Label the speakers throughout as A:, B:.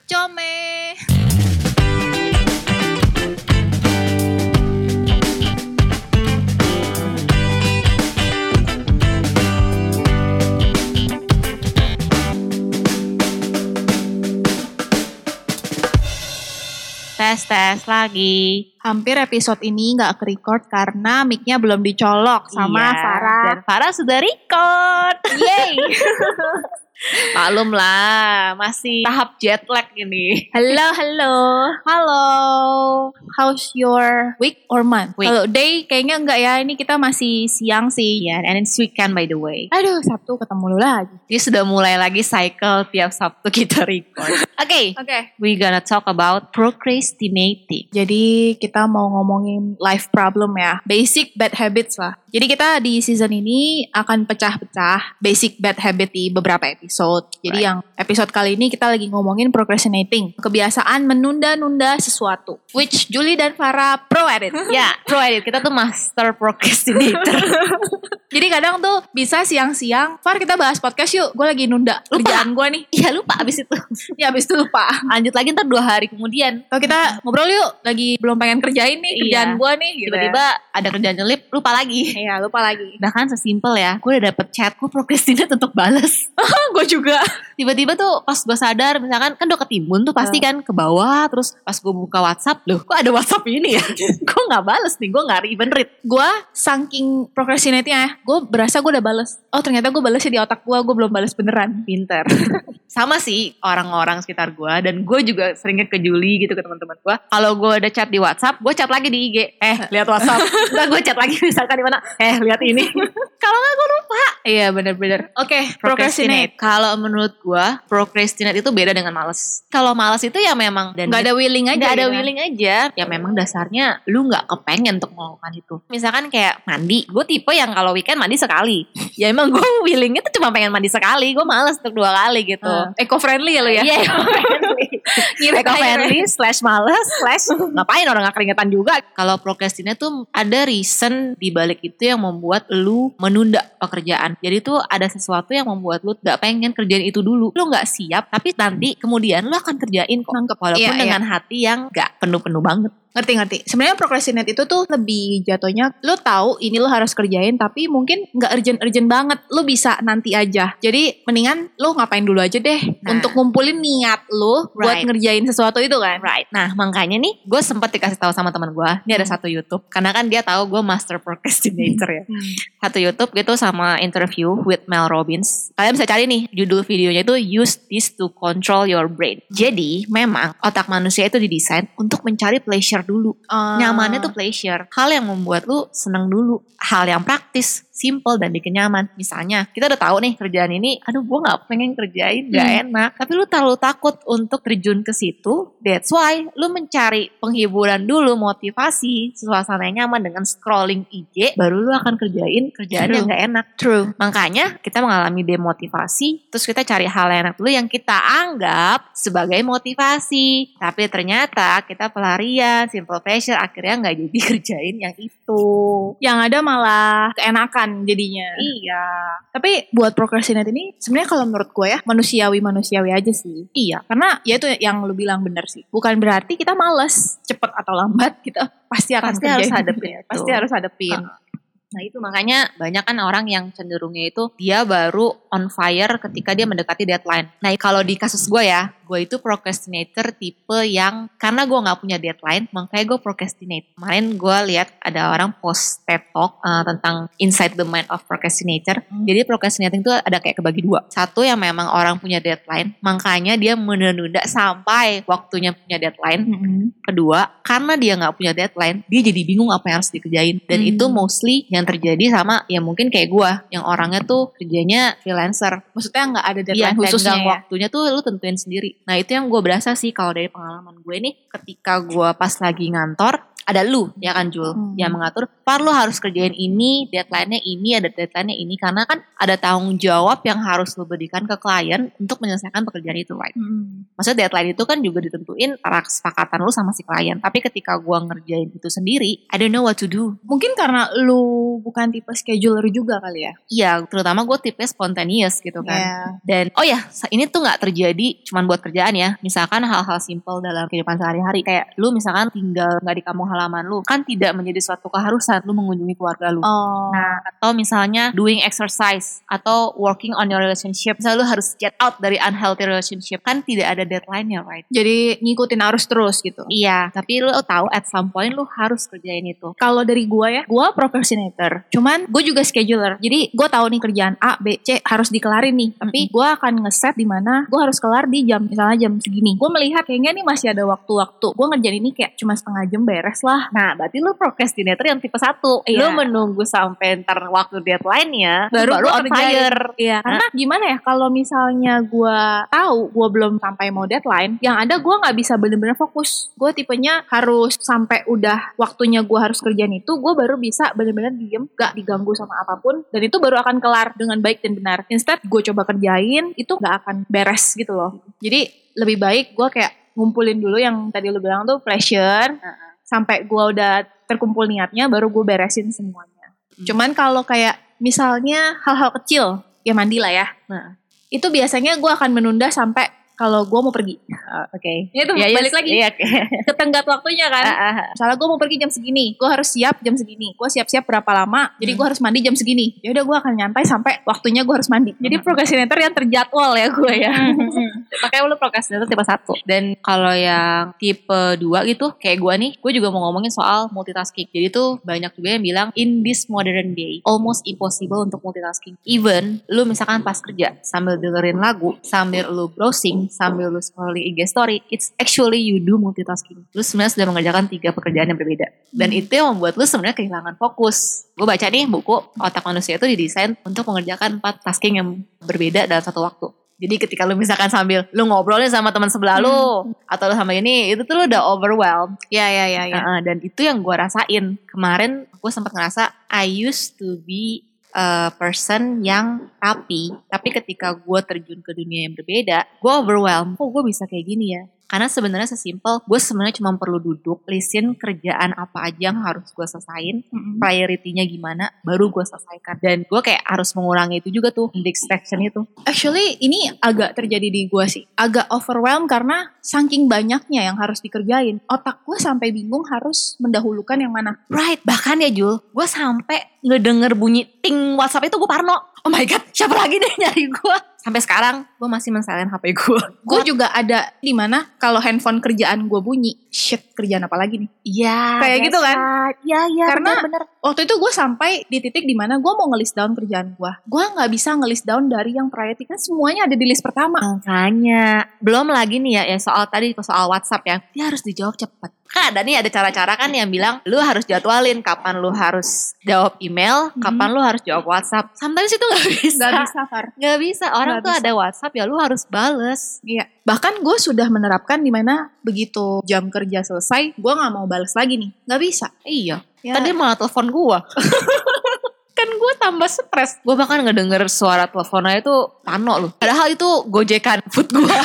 A: Welcome. Tes tes lagi. Hampir episode ini nggak ke-record karena mic-nya belum dicolok sama
B: Iya,
A: Farah.
B: Dan Farah sudah record.
A: Yeay.
B: Maklum lah, masih tahap jet lag ini.
A: Hello, hello. Halo. How's your week or month?
B: Week.
A: Kalau day kayaknya enggak ya. Ini kita masih siang sih.
B: Iya, and it's weekend by the way.
A: Aduh, Sabtu ketemu lu lagi.
B: Jadi sudah mulai lagi cycle tiap Sabtu kita record. Oke,
A: Oke.
B: we gonna talk about procrastinating.
A: Jadi kita mau ngomongin life problem ya, basic bad habits lah. Jadi kita di season ini akan pecah-pecah basic bad habit di beberapa episode. Jadi
B: Right.
A: yang episode kali ini kita lagi ngomongin procrastinating, kebiasaan menunda-nunda sesuatu. Which Julie dan Farah pro at it.
B: Ya, pro edit. Kita tuh master procrastinator.
A: Jadi kadang tuh bisa siang-siang, Far kita bahas podcast yuk. Gue lagi nunda
B: Lupa.
A: kerjaan gue nih.
B: Iya lupa abis itu.
A: Ya abis itu lupa.
B: Lanjut lagi ntar dua hari kemudian.
A: Kalau kita ngobrol yuk, lagi belum pengen kerjain nih
B: Hmm. Iya.
A: kerjaan gue nih. gitu ya.
B: Tiba-tiba ada kerjaan nyelip, lupa lagi.
A: Iya lupa lagi.
B: Bahkan sesimpel ya, gue udah dapet chat, gue procrastinate untuk balas.
A: gue juga.
B: tiba-tiba tuh pas gue sadar misalkan kan udah ketimbun tuh pasti kan ke bawah terus pas gue buka WhatsApp loh kok ada WhatsApp ini ya gue nggak bales nih gue nggak even read
A: gue saking procrastinating ya, gue berasa gue udah bales. Oh ternyata gue balesnya di otak gue, gue belum bales beneran.
B: pinter sama sih orang-orang sekitar gue dan gue juga seringnya ke Juli gitu ke teman-teman gue kalau gue ada chat di WhatsApp gue chat lagi di IG eh lihat WhatsApp ntar gue chat lagi misalkan di mana eh lihat ini kalau nggak gue lupa
A: Iya bener-bener. Oke, procrastinate.
B: procrastinate kalau menurut gue procrastinate itu beda dengan males kalau males itu ya memang dan
A: Gak ada willing aja.
B: nggak ada
A: gitu.
B: willing aja ya memang dasarnya lu nggak kepengen untuk melakukan itu misalkan kayak mandi gue tipe yang kalau weekend mandi sekali ya emang gue willingnya tuh cuma pengen mandi sekali gue males untuk dua kali gitu
A: Tuh. Eco-friendly ya lo ya?
B: Iya, eco-friendly. Eco-friendly slash males slash ngapain orang gak keringetan juga. Kalau procrastinate tuh ada reason di balik itu yang membuat lu menunda pekerjaan. Jadi tuh ada sesuatu yang membuat lu gak pengen kerjain itu dulu. Lu gak siap, tapi nanti kemudian lu akan kerjain kok. Walaupun
A: Iya, iya.
B: dengan hati yang gak penuh-penuh banget.
A: Ngerti-ngerti. Sebenarnya procrastinate itu tuh lebih jatuhnya, lo tahu ini lo harus kerjain, tapi mungkin nggak urgent-urgent banget. Lo bisa nanti aja. Jadi mendingan lo ngapain dulu aja deh
B: Nah.
A: untuk ngumpulin niat lo buat
B: Right.
A: ngerjain sesuatu itu kan.
B: Right. Nah makanya nih gue sempat dikasih tahu sama teman gue. Dia ada satu YouTube. Karena kan dia tahu gue master procrastinator ya. satu YouTube gitu sama interview with Mel Robbins. Kalian bisa cari nih judul videonya itu Use This to Control Your Brain. Jadi memang otak manusia itu didesain untuk mencari pleasure dulu.
A: Ah.
B: Nyamannya tuh pleasure. Hal yang membuat lu seneng dulu. Hal yang praktis, simple dan bikin nyaman. Misalnya kita udah tahu nih kerjaan ini, aduh gue nggak pengen kerjain, nggak
A: Hmm.
B: enak. Tapi lu terlalu takut untuk terjun ke situ. That's why lu mencari penghiburan dulu, motivasi, suasana yang nyaman dengan scrolling IG. Baru lu akan kerjain kerjaan
A: True.
B: yang nggak enak.
A: True.
B: Makanya kita mengalami demotivasi, terus kita cari hal yang enak dulu yang kita anggap sebagai motivasi. Tapi ternyata kita pelarian, simple pleasure, akhirnya nggak jadi kerjain yang itu.
A: Yang ada malah keenakan jadinya.
B: Iya.
A: Tapi buat procrastinate ini sebenarnya kalau menurut gue ya manusiawi-manusiawi aja sih.
B: Iya.
A: Karena ya itu yang lu bilang bener sih. Bukan berarti kita males, cepet atau lambat kita pasti akan
B: Pasti
A: kerjain.
B: harus
A: gitu ya. Ah.
B: hadepin itu.
A: Pasti harus hadepin.
B: Nah itu makanya banyak kan orang yang cenderungnya itu dia baru on fire ketika dia mendekati deadline. Nah kalau di kasus gue ya, gue itu procrastinator tipe yang karena gue nggak punya deadline, makanya gue procrastinate. Kemarin gue lihat ada orang post TED Talk eh, tentang Inside the Mind of Procrastinator.
A: Hmm.
B: Jadi procrastinating itu ada kayak kebagi dua. Satu yang memang orang punya deadline, makanya dia menunda sampai waktunya punya deadline
A: Mm-mm.
B: kedua karena dia nggak punya deadline dia jadi bingung apa yang harus dikerjain dan
A: Hmm.
B: itu mostly yang terjadi sama ya mungkin kayak gua yang orangnya tuh kerjanya freelancer
A: Maksudnya nggak ada
B: Iya,
A: deadline khususnya
B: tenggang
A: ya.
B: waktunya tuh lu tentuin sendiri nah itu yang gue berasa sih kalau dari pengalaman gue nih ketika gua pas lagi ngantor ada lu ya kan Jul
A: Hmm.
B: yang mengatur par lu harus kerjain ini deadline-nya ini ada deadline-nya ini karena kan ada tanggung jawab yang harus lu berikan ke klien untuk menyelesaikan pekerjaan itu right
A: Mm.
B: maksudnya deadline itu kan juga ditentuin antara kesepakatan lu sama si klien tapi ketika gua ngerjain itu sendiri I don't know what to do
A: Mungkin karena lu bukan tipe scheduler juga kali ya.
B: iya terutama gue tipe spontaneous gitu kan
A: Iya.
B: Dan oh ya, sa- ini tuh nggak terjadi cuman buat kerjaan ya. Misalkan hal-hal simpel dalam kehidupan sehari-hari kayak lu misalkan tinggal nggak di kampung halaman lu, kan tidak menjadi suatu keharusan lu mengunjungi keluarga lu.
A: Oh.
B: Nah, atau misalnya doing exercise atau working on your relationship. Misalnya lu harus get out dari unhealthy relationship, kan tidak ada deadline-nya, right?
A: jadi ngikutin arus terus gitu.
B: Iya, tapi lu tahu at some point lu harus kerjain itu.
A: Kalau dari gua ya, gua procrastinator. Cuman gue juga scheduler. Jadi gue tahu nih kerjaan A, B, C harus dikelarin nih. Tapi gua akan ngeset di mana gua harus kelar di jam misalnya jam segini. Gue melihat kayaknya nih masih ada waktu-waktu. Gue ngerjain ini kayak cuma setengah jam beres lah.
B: Nah, berarti lu procrastinator yang tipe satu. Lu
A: Iya.
B: menunggu sampai ntar waktu deadline-nya,
A: Baru
B: baru, baru
A: gua
B: on
A: kerjain.
B: fire.
A: Iya. Karena gimana ya kalau misalnya gua tahu gua belum sampai mau deadline, yang ada gua nggak bisa bener-bener fokus. Gue tipenya harus sampai udah waktunya gua harus kerjaan itu, gue baru bisa bener-bener diem, gak diganggu sama apapun, dan itu baru akan kelar dengan baik dan benar. Instead gue coba kerjain, itu nggak akan beres gitu loh. Jadi lebih baik gua kayak ngumpulin dulu yang tadi lu bilang tuh pleasure,
B: Heeh.
A: sampai gua udah terkumpul niatnya, baru gue beresin semuanya. Cuman kalau kayak misalnya hal-hal kecil, ya mandi lah ya.
B: Nah.
A: Itu biasanya gue akan menunda sampai kalau gue mau pergi.
B: Oh, Oke.
A: Ya itu
B: Ya, ya,
A: balik lagi
B: Iya. oke.
A: ke tenggat waktunya
B: Ah,
A: kan.
B: ah, ah.
A: Misalnya gue mau pergi jam segini, gue harus siap jam segini. Gue siap-siap berapa lama, jadi gue harus mandi jam segini. Ya udah gue akan nyantai sampai waktunya gue harus mandi. Jadi procrastinator yang terjadwal ya gue ya.
B: Makanya lu procrastinator tipe satu. Dan kalau yang tipe dua gitu, kayak gue nih, gue juga mau ngomongin soal multitasking. Jadi tuh banyak juga yang bilang, in this modern day, almost impossible untuk multitasking. Even lu misalkan pas kerja, sambil dengerin lagu, sambil lu browsing, sambil lu scrolling IG story, it's actually you do multitasking. Lu sebenarnya sudah mengerjakan tiga pekerjaan yang berbeda. Dan itu yang membuat lu sebenarnya kehilangan fokus. Gue baca nih buku, otak manusia itu didesain untuk mengerjakan empat tasking yang berbeda dalam satu waktu. Jadi ketika lu misalkan sambil lu ngobrolnya sama teman sebelah lu atau lu sama ini, itu tuh lu udah overwhelmed.
A: Hmm. Ya ya ya ya.
B: Heeh, dan itu yang gua rasain kemarin. Gue sempat ngerasa I used to be a person yang tapi tapi ketika gue terjun ke dunia yang berbeda, gue overwhelmed. Kok gue bisa kayak gini ya? Karena sebenarnya sesimpel, gue sebenarnya cuma perlu duduk, lisin kerjaan apa aja yang harus gue selesain,
A: Mm-mm.
B: priority-nya gimana, baru gue selesaikan. Dan gue kayak harus mengurangi itu juga tuh, distraction itu.
A: Actually ini agak terjadi di gue sih. Agak overwhelmed karena saking banyaknya yang harus dikerjain. Otak gue sampai bingung harus mendahulukan yang mana.
B: Right, bahkan ya Jul, gue sampai ngedenger bunyi ting WhatsApp itu gue parno. Oh my god, siapa lagi nih nyari gue? Sampai sekarang gue masih mensalin HP gue.
A: Gue juga ada di mana kalau handphone kerjaan gue bunyi, shit kerjaan apa lagi nih?
B: Iya,
A: Kayak
B: that's
A: gitu kan?
B: right. Iya, iya.
A: Karena
B: bener,
A: Waktu itu gue sampai di titik di mana gue mau ngelist down kerjaan gue. Gue nggak bisa ngelist down dari yang priority kan semuanya ada di list pertama.
B: Ah. makanya belum lagi nih ya, ya soal tadi soal WhatsApp ya, dia harus dijawab cepet. Kan ada nih ada cara-cara kan yang bilang lu harus jadwalin kapan lu harus jawab email,
A: Mhm.
B: kapan lu harus jawab WhatsApp. Sometimes itu nggak bisa.
A: Gak bisa Far.
B: Nggak bisa. Orang
A: Nggak
B: tuh
A: bisa.
B: ada WhatsApp ya lu harus bales.
A: Iya. Bahkan gue sudah menerapkan di mana begitu jam kerja selesai, gue nggak mau balas lagi nih. Gak bisa.
B: Iya.
A: Ya.
B: Tadi malah telepon gua. kan gue tambah stres. Gue bahkan ngedenger suara teleponnya itu Pano loh. Padahal itu gojekan food gue.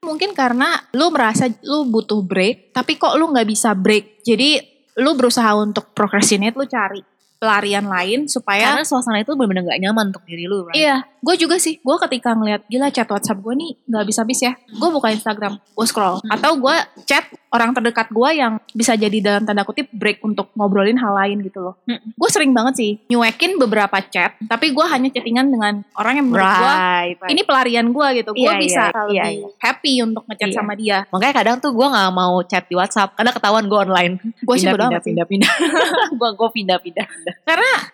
A: mungkin karena lu merasa lu butuh break, tapi kok lu nggak bisa break. Jadi lu berusaha untuk procrastinate, lu cari pelarian lain supaya
B: Karena suasana itu bener-bener gak nyaman untuk diri lu.
A: Ya.
B: Right?
A: Iya, gue juga sih. Gue ketika ngeliat gila chat WhatsApp gue nih nggak bisa habis ya. Gue buka Instagram, gue
B: Hmm.
A: scroll, atau gue chat orang terdekat gue yang bisa jadi dalam tanda kutip break untuk ngobrolin hal lain gitu loh.
B: Mm-mm.
A: Gue sering banget sih nyuekin beberapa chat, tapi gue hanya chattingan dengan orang yang menurut gue
B: Right.
A: ini pelarian gue gitu. Gue
B: Iya,
A: bisa
B: iya,
A: lebih
B: iya,
A: happy untuk ngechat
B: Iya.
A: sama dia.
B: Makanya kadang tuh gue gak mau chat di WhatsApp. Karena ketahuan gue online.
A: Gue sih bodo amat.
B: pindah. Gue gue pindah-pindah.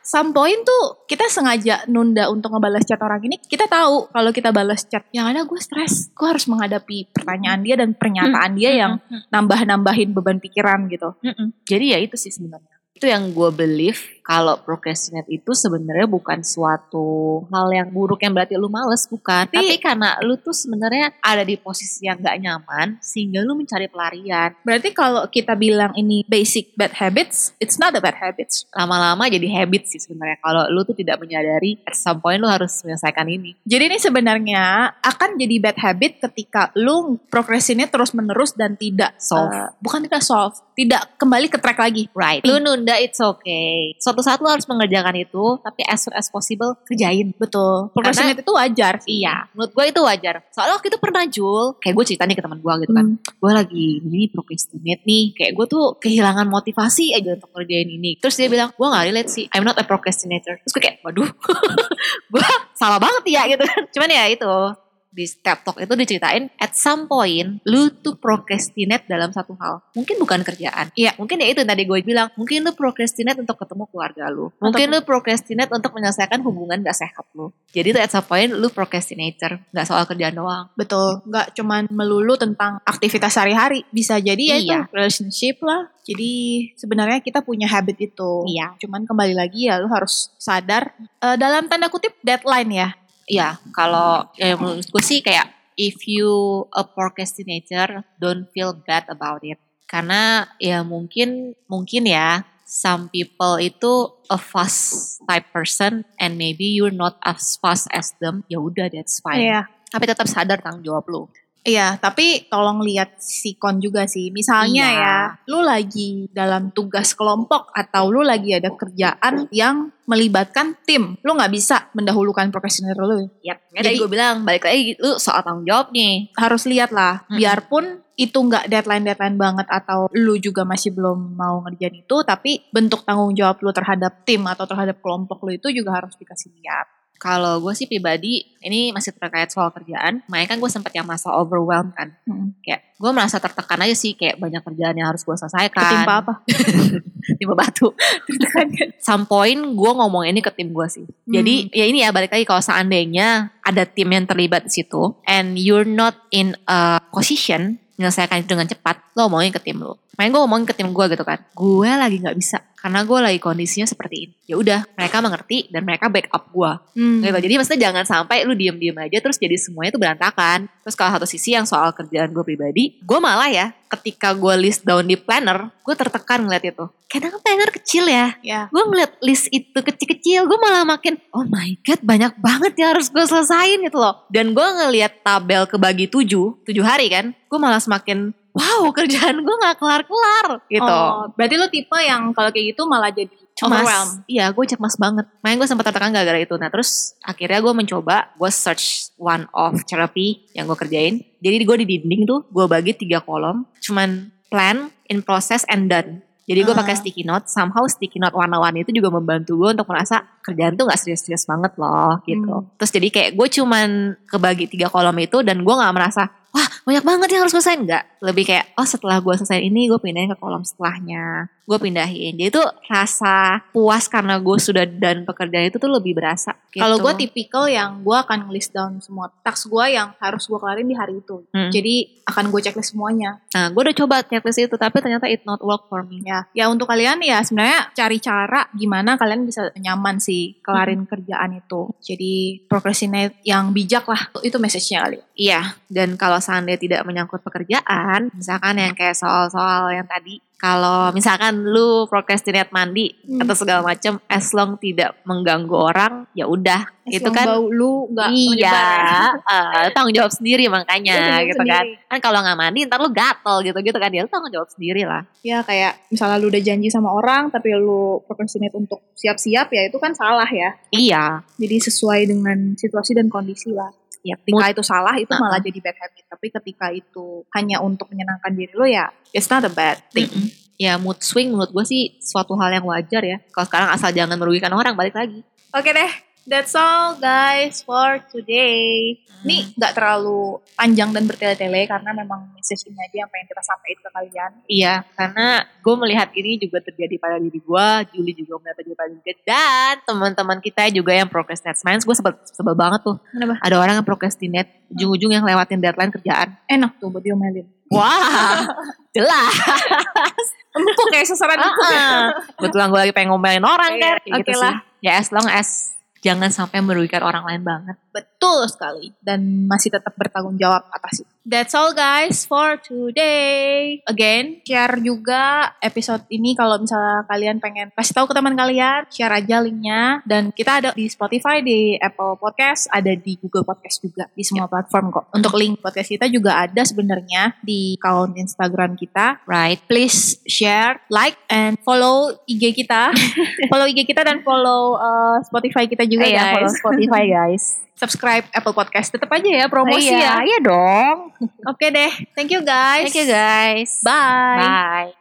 A: Some point tuh kita sengaja nunda untuk ngebalas chat orang ini. Kita tahu kalau kita balas chat, yang ada gue stres. Gue harus menghadapi pertanyaan dia dan pernyataan dia yang
B: Hmm,
A: nambah-nambahin beban pikiran gitu.
B: Mm-mm. Jadi ya itu sih sebenarnya. Itu yang gue believe kalau procrastinate itu sebenarnya bukan suatu hal yang buruk yang berarti lu males bukan
A: Tapi-
B: tapi karena lu tuh sebenarnya ada di posisi yang gak nyaman sehingga lu mencari pelarian
A: Berarti kalau kita bilang ini basic bad habits, it's not a bad habits.
B: lama-lama jadi habit sih sebenarnya kalau lu tuh tidak menyadari at some point lu harus menyelesaikan ini
A: Jadi ini sebenarnya akan jadi bad habit ketika lu progresinya terus menerus dan tidak
B: Solve.
A: eh, bukan tidak solve, tidak kembali ke track lagi.
B: right Ah. lu nunda it's okay suatu saat lu harus mengerjakan itu tapi as soon as possible kerjain
A: Betul. Procrastinate itu wajar. Hmm.
B: Iya, menurut gue itu wajar. Soalnya waktu itu pernah Jul, kayak gue cerita nih ke teman gue gitu kan.
A: Hmm.
B: Gue lagi ini procrastinate nih, kayak gue tuh kehilangan motivasi aja untuk ngerjain ini. Terus dia bilang, gue gak relate sih, I'm not a procrastinator. Terus gue kayak, waduh, gue salah banget ya gitu kan. Cuman ya itu, di step talk itu diceritain at some point lu tuh procrastinate dalam satu hal mungkin bukan kerjaan iya mungkin ya itu yang tadi gue bilang mungkin lu procrastinate untuk ketemu keluarga lu mungkin lu procrastinate untuk menyelesaikan hubungan gak sehat lu jadi tuh at some point lu procrastinator, nggak soal kerjaan doang.
A: Betul. Nggak cuman melulu tentang aktivitas sehari-hari. Bisa jadi ya itu
B: Iya.
A: relationship lah. Jadi sebenarnya kita punya habit itu.
B: Iya.
A: Cuman kembali lagi ya lu harus sadar eh, dalam tanda kutip deadline ya.
B: Iya, kalau ya, menurut gue sih kayak if you a procrastinator, don't feel bad about it. Karena ya mungkin mungkin ya some people itu a fast type person and maybe you're not as fast as them. Ya udah that's fine.
A: Iya.
B: Tapi tetap sadar tanggung jawab lu.
A: Iya, tapi tolong lihat sikon juga sih. Misalnya
B: Iya.
A: ya, lu lagi dalam tugas kelompok atau lu lagi ada kerjaan yang melibatkan tim, lu nggak bisa mendahulukan procrastinator lu.
B: Yap.
A: Jadi-
B: Jadi gue bilang balik lagi lu soal tanggung jawab nih.
A: Harus lihat lah,
B: Mm-mm.
A: biarpun itu nggak deadline-deadline banget atau lu juga masih belum mau ngerjain itu, tapi bentuk tanggung jawab lu terhadap tim atau terhadap kelompok lu itu juga harus dikasih lihat.
B: Kalau gue sih pribadi ini masih terkait soal kerjaan. Makanya kan gue sempat yang masa overwhelmed kan. kayak gue merasa tertekan aja sih kayak banyak kerjaan yang harus gue selesaikan
A: Ketimpa apa?
B: Ketimpa batu kan. some point gue ngomong ini ke tim gue sih jadi ya ini ya balik lagi kalau seandainya ada tim yang terlibat di situ and you're not in a position menyelesaikan itu dengan cepat lo omongin ke tim lo main gue omongin ke tim gue gitu kan gue lagi nggak bisa karena gue lagi kondisinya seperti ini ya udah mereka mengerti dan mereka backup gue
A: Hmm.
B: gitu. Jadi maksudnya jangan sampai lu diem-diem aja terus jadi semuanya tuh berantakan. Terus kalau satu sisi yang soal kerjaan gue pribadi, gue malah ya ketika gue list down di planner, gue tertekan ngeliat itu. Karena kan planner kecil ya.
A: Ya.
B: Gue ngeliat list itu kecil-kecil, gue malah makin, oh my god banyak banget yang harus gue selesain gitu loh. Dan gue ngeliat tabel kebagi tujuh, tujuh hari kan, gue malah semakin, wow kerjaan gue gak kelar-kelar gitu.
A: Oh, berarti lu tipe yang kalau kayak gitu malah jadi overwhelmed.
B: Overwhelmed. Iya, gue cemas banget. Makanya gue sempat tertekan gara-gara itu. Nah, terus akhirnya gue mencoba, gue search one of therapy yang gue kerjain. Jadi gue di dinding tuh, gue bagi tiga kolom. Cuman plan, in process, and done. Jadi gue
A: Ah.
B: pakai sticky note, somehow sticky note warna-warni itu juga membantu gue untuk merasa kerjaan tuh gak serius-serius banget loh gitu.
A: Hmm.
B: Terus jadi kayak gue cuman kebagi tiga kolom itu dan gue gak merasa, wah banyak banget yang harus gue selesaiin. Enggak, lebih kayak, oh setelah gue selesaiin ini gue pindahin ke kolom setelahnya. Gue pindahin, jadi tuh rasa puas karena gue sudah dan pekerjaan itu tuh lebih berasa. gitu.
A: Kalau gue tipikal yang gue akan list down semua task gue yang harus gue kelarin di hari itu.
B: Hmm.
A: Jadi akan gue checklist semuanya.
B: Nah gue udah coba checklist itu tapi ternyata it not work for me.
A: Ya, ya untuk kalian ya sebenarnya cari cara gimana kalian bisa nyaman sih kelarin kerjaan itu. Jadi procrastinate yang bijak lah itu message-nya kali.
B: Iya, dan kalau seandainya tidak menyangkut pekerjaan, misalkan yang kayak soal-soal yang tadi, kalau misalkan lu procrastinate mandi
A: Hmm.
B: atau segala macam, as long tidak mengganggu orang, ya udah, itu
A: Yang
B: kan
A: bau lu nggak
B: iya,
A: menyebar.
B: eh, tanggung jawab sendiri
A: Itu
B: makanya
A: sendiri-
B: gitu kan.
A: sendiri.
B: Kan kalau nggak mandi ntar lu gatel gitu-gitu kan, ya lu tanggung jawab sendiri lah.
A: Ya kayak misalnya lu udah janji sama orang tapi lu procrastinate untuk siap-siap ya itu kan salah ya.
B: Iya,
A: Jadi sesuai dengan situasi dan kondisi lah.
B: ya
A: ketika itu salah itu
B: Uh-uh.
A: malah jadi bad habit tapi ketika itu hanya untuk menyenangkan diri lo ya it's not a bad thing
B: Mm-mm. Ya mood swing menurut gue sih suatu hal yang wajar ya. Kalau sekarang asal jangan merugikan orang balik lagi.
A: oke deh that's all guys for today ini nggak terlalu panjang dan bertele-tele karena memang message ini aja yang pengen kita sampaikan ke kalian
B: Iya, karena gue melihat ini juga terjadi pada diri gue, Juli juga melihat terjadi pada diri gue, dan teman-teman kita juga yang procrastinate. Sebenarnya gue sebel, sebel banget tuh.
A: Kenapa?
B: Ada orang yang procrastinate, ujung-ujung yang lewatin deadline kerjaan.
A: enak tuh buat diomelin
B: Wah, jelas.
A: empuk kayak sasaran empuk ya.
B: Ah, Kebetulan gue lagi pengen ngomelin orang
A: Iya,
B: kan. Kayak
A: oke
B: gitu
A: lah.
B: Sih. Ya as long as jangan sampai merugikan orang lain banget.
A: Betul sekali. Dan masih tetap bertanggung jawab atas itu. That's all guys for today. Again, share juga episode ini kalau misalnya kalian pengen kasih tahu ke teman kalian, share aja linknya. Dan kita ada di Spotify, di Apple Podcast, ada di Google Podcast juga, di semua platform kok. Untuk link podcast kita juga ada sebenarnya di account Instagram kita.
B: Right.
A: Please share, like, and follow IG kita. follow IG kita dan follow uh, Spotify kita juga ya.
B: Iya,
A: guys
B: follow Spotify guys.
A: subscribe Apple Podcast. Tetap aja ya
B: Oh,
A: promosi ya.
B: Iya dong.
A: Oke deh. Thank you guys.
B: Thank you guys.
A: Bye.
B: Bye.